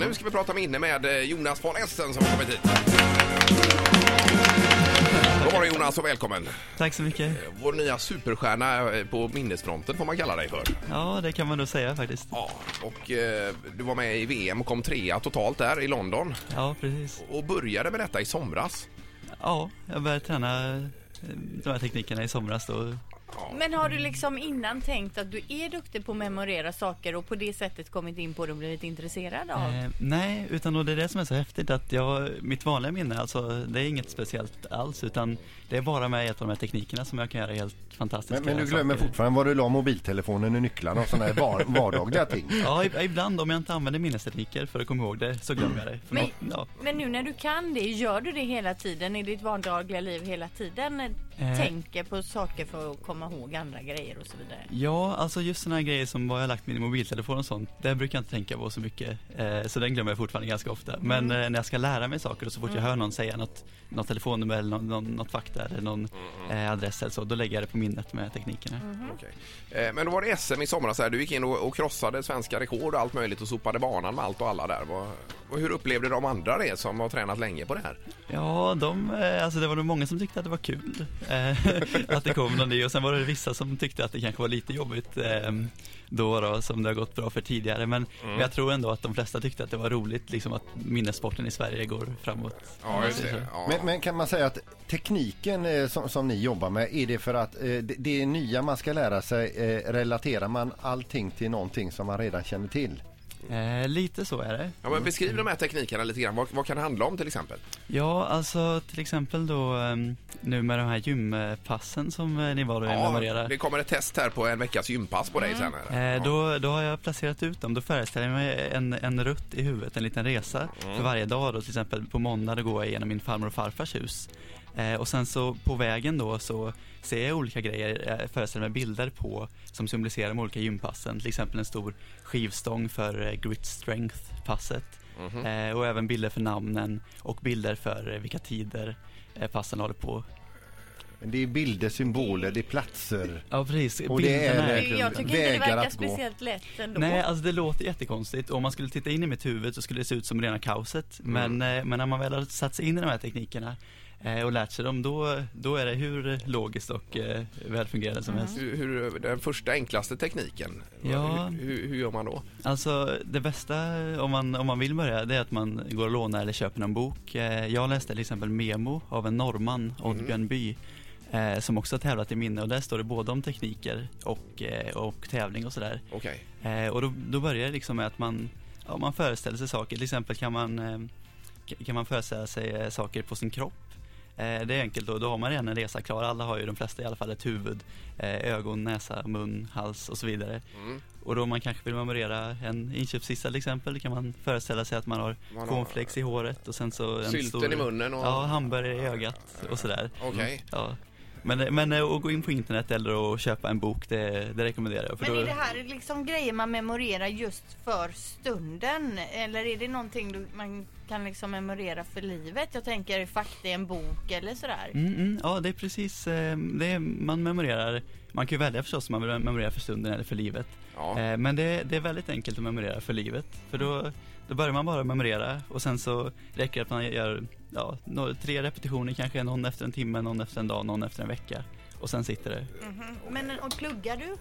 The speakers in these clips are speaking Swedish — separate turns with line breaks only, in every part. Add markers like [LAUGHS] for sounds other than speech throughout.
nu ska vi prata minne med eh, Jonas von Essen som har kommit hit. God morgon Jonas och välkommen.
Tack så mycket.
Vår nya superstjärna eh, på minnesfronten får man kalla dig för.
Ja, det kan man nog säga faktiskt.
Ja, och eh, du var med i VM och kom trea totalt där i London
Ja, precis.
och började med detta i somras.
Ja, jag började träna eh, de här teknikerna i somras då.
Men har du liksom innan tänkt att du är duktig på att memorera saker och på det sättet kommit in på det och blivit intresserad av?
Eh, nej, utan då det är det som är så häftigt att jag, mitt vanliga minne, alltså det är inget speciellt alls utan det är bara med hjälp av de här teknikerna som jag kan göra helt fantastiska
Men, men du glömmer
saker.
fortfarande var du la mobiltelefonen och nycklarna och sådana
[LAUGHS]
här var, vardagliga ting.
Ja, i- ibland om jag inte använder minnestekniker för att komma ihåg det så glömmer jag det. För
Men-
nå- ja.
Men nu när du kan det, gör du det hela tiden i ditt vardagliga liv hela tiden?
Eh.
Tänker på saker för att komma ihåg andra grejer och så vidare?
Ja, alltså just sådana här grejer som vad jag har lagt min mobiltelefon och sånt, det brukar jag inte tänka på så mycket. Eh, så den glömmer jag fortfarande ganska ofta. Men eh, när jag ska lära mig saker och så fort jag hör någon säga något, något telefonnummer eller någon, någon, något fakta eller någon eh, adress eller så, då lägger jag det på minnet med teknikerna.
Okej. Eh, Men då var det SM i somras. Här. Du gick in och, och krossade svenska rekord och allt möjligt och sopade banan med allt och alla där. Vad- Och hur upplevde de andra det som har tränat länge på det här?
Ja, de, eh, alltså det var nog många som tyckte att det var kul eh, [LAUGHS] att det kom någon ny och sen var det vissa som tyckte att det kanske var lite jobbigt eh, då, då som det har gått bra för tidigare. Men, men jag tror ändå att de flesta tyckte att det var roligt liksom att minnessporten i Sverige går framåt.
Ja,
just det.
Ja.
Men, men kan man säga att tekniken eh, som, som ni jobbar med, är det för att eh, det, det är nya man ska lära sig, eh, relaterar man allting till någonting som man redan känner till?
Eh, lite så är det.
Ja, men beskriv de här teknikerna lite grann. Vad, vad kan det handla om till exempel?
Ja, alltså till exempel då ehm, nu med de här gympassen som eh, ni var och
Ja,
memorerade.
det kommer ett test här på en veckas gympass på dig sen. Här.
Eh, då, då har jag placerat ut dem, då föreställer jag mig en, en rutt i huvudet, en liten resa
Mm.
för varje dag då, till exempel på måndag då går jag igenom min farmor och farfars hus. Eh, och sen så på vägen då så ser jag olika grejer, eh, föreställer mig bilder på som symboliserar de olika gympassen, till exempel en stor skivstång för eh, grit strength-passet.
Mm-hmm.
Eh, och även bilder för namnen och bilder för eh, vilka tider eh, passen håller på.
Det är bilder, symboler, det är platser.
Ja precis,
Och det
bilderna
är-
är
Nej,
Du, jag tycker inte det verkar
vägar att gå.
speciellt lätt ändå.
Nej, alltså det låter jättekonstigt. Om man skulle titta in i mitt huvud så skulle det se ut som rena kaoset. Men, eh, men när man väl har satt sig in i de här teknikerna eh, och lärt sig dem, då, då är det hur logiskt och eh, välfungerande som helst.
Hur, hur, den första enklaste tekniken,
Ja.
hur, hur, hur gör man då?
Alltså det bästa eh, om man, om man vill börja, det är att man går och lånar eller köper någon bok. Eh, Jag läste till exempel Memo av en norrman, Oddbjörn By, eh, som också har tävlat i minne och där står det både om tekniker och, eh, och tävling och sådär.
Okej.
Eh, och då, då börjar det liksom med att man, ja, man föreställer sig saker. Till exempel kan man, eh, k- kan man föreställa sig eh, saker på sin kropp. Eh, det är enkelt då, då har man redan en resa klar. Alla har ju, de flesta i alla fall, ett huvud, eh, ögon, näsa, mun, hals och så vidare.
Mm.
Och då om man kanske vill memorera en inköpslista till exempel, kan man föreställa sig att man har
Man har-
cornflakes i håret och sen så en
Sylten
stor,
i munnen och-
Ja, hamburgare i ögat och sådär. Mm,
Okej.
Ja. Men, men eh, att gå in på internet eller att köpa en bok, det, det rekommenderar jag. För
Men
då,
är det här liksom grejer man memorerar just för stunden? Eller är det någonting du, man kan liksom memorera för livet? Jag tänker fakta i en bok eller sådär.
Mm, mm, ja, det är precis eh, det är, man memorerar. Man kan ju välja förstås om man vill memorera för stunden eller för livet.
Ja.
Eh, men det, det är väldigt enkelt att memorera för livet. För då, då börjar man bara memorera och sen så räcker det att man gör ja, några, tre repetitioner kanske, någon efter en timme, någon efter en dag, någon efter en vecka. Och sen sitter det.
Mm-hmm. Men och pluggar du?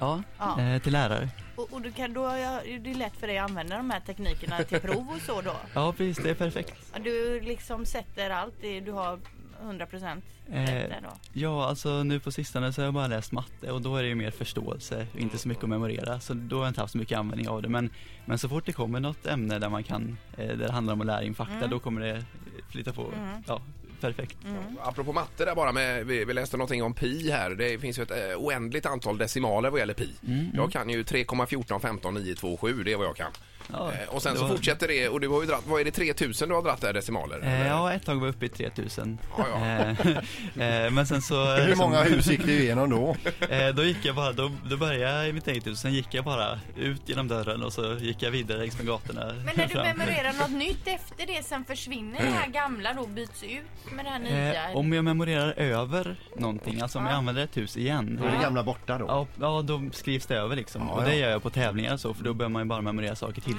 Ja,
Ja.
Eh, till lärare.
Och, och du kan, då är det lätt för dig att använda de här teknikerna till prov och så då?
Ja, precis, det är perfekt.
Ja, Du liksom sätter allt, i- du har 100 procent
Eh,
där då?
ja, alltså nu på sistone så har jag bara läst matte och då är det ju mer förståelse, och inte så mycket att memorera. Så då har jag inte haft så mycket användning av det. Men, men så fort det kommer något ämne där man kan, eh, där det handlar om att lära in fakta,
Mm.
då kommer det flytta på. Ja, perfekt.
Apropå matte där bara, med, vi, vi läste någonting om pi här. Det finns ju ett eh, oändligt antal decimaler vad gäller pi.
Mm.
Mm.
Mm. Jag kan ju 3,14, 15, 9, 2, 7, det är vad jag kan.
Ja,
Eh, och sen
det
så
var-
fortsätter det, och du har ju dratt, vad är det, 3000 du har dratt där decimaler?
Eh,
eller?
ja, ett tag var jag uppe i 3000.
Ja, ja.
Eh, [LAUGHS] eh, men
[LAUGHS]
sen så...
Hur många hus gick du igenom då?
[LAUGHS] Eh, då gick jag bara, då, då började jag i mitt eget hus, sen gick jag bara ut genom dörren och så gick jag vidare längs med gatorna.
Men när du
fram.
memorerar något nytt efter det, sen försvinner det här gamla då, byts ut med det här nya?
Eh, om jag memorerar över någonting, alltså om jag använder ett hus igen.
Då är det gamla borta då?
Ja, ja, då skrivs det över liksom.
Ja,
och det
ja.
gör jag på tävlingar och så, för då behöver man ju bara memorera saker till tillfälligt.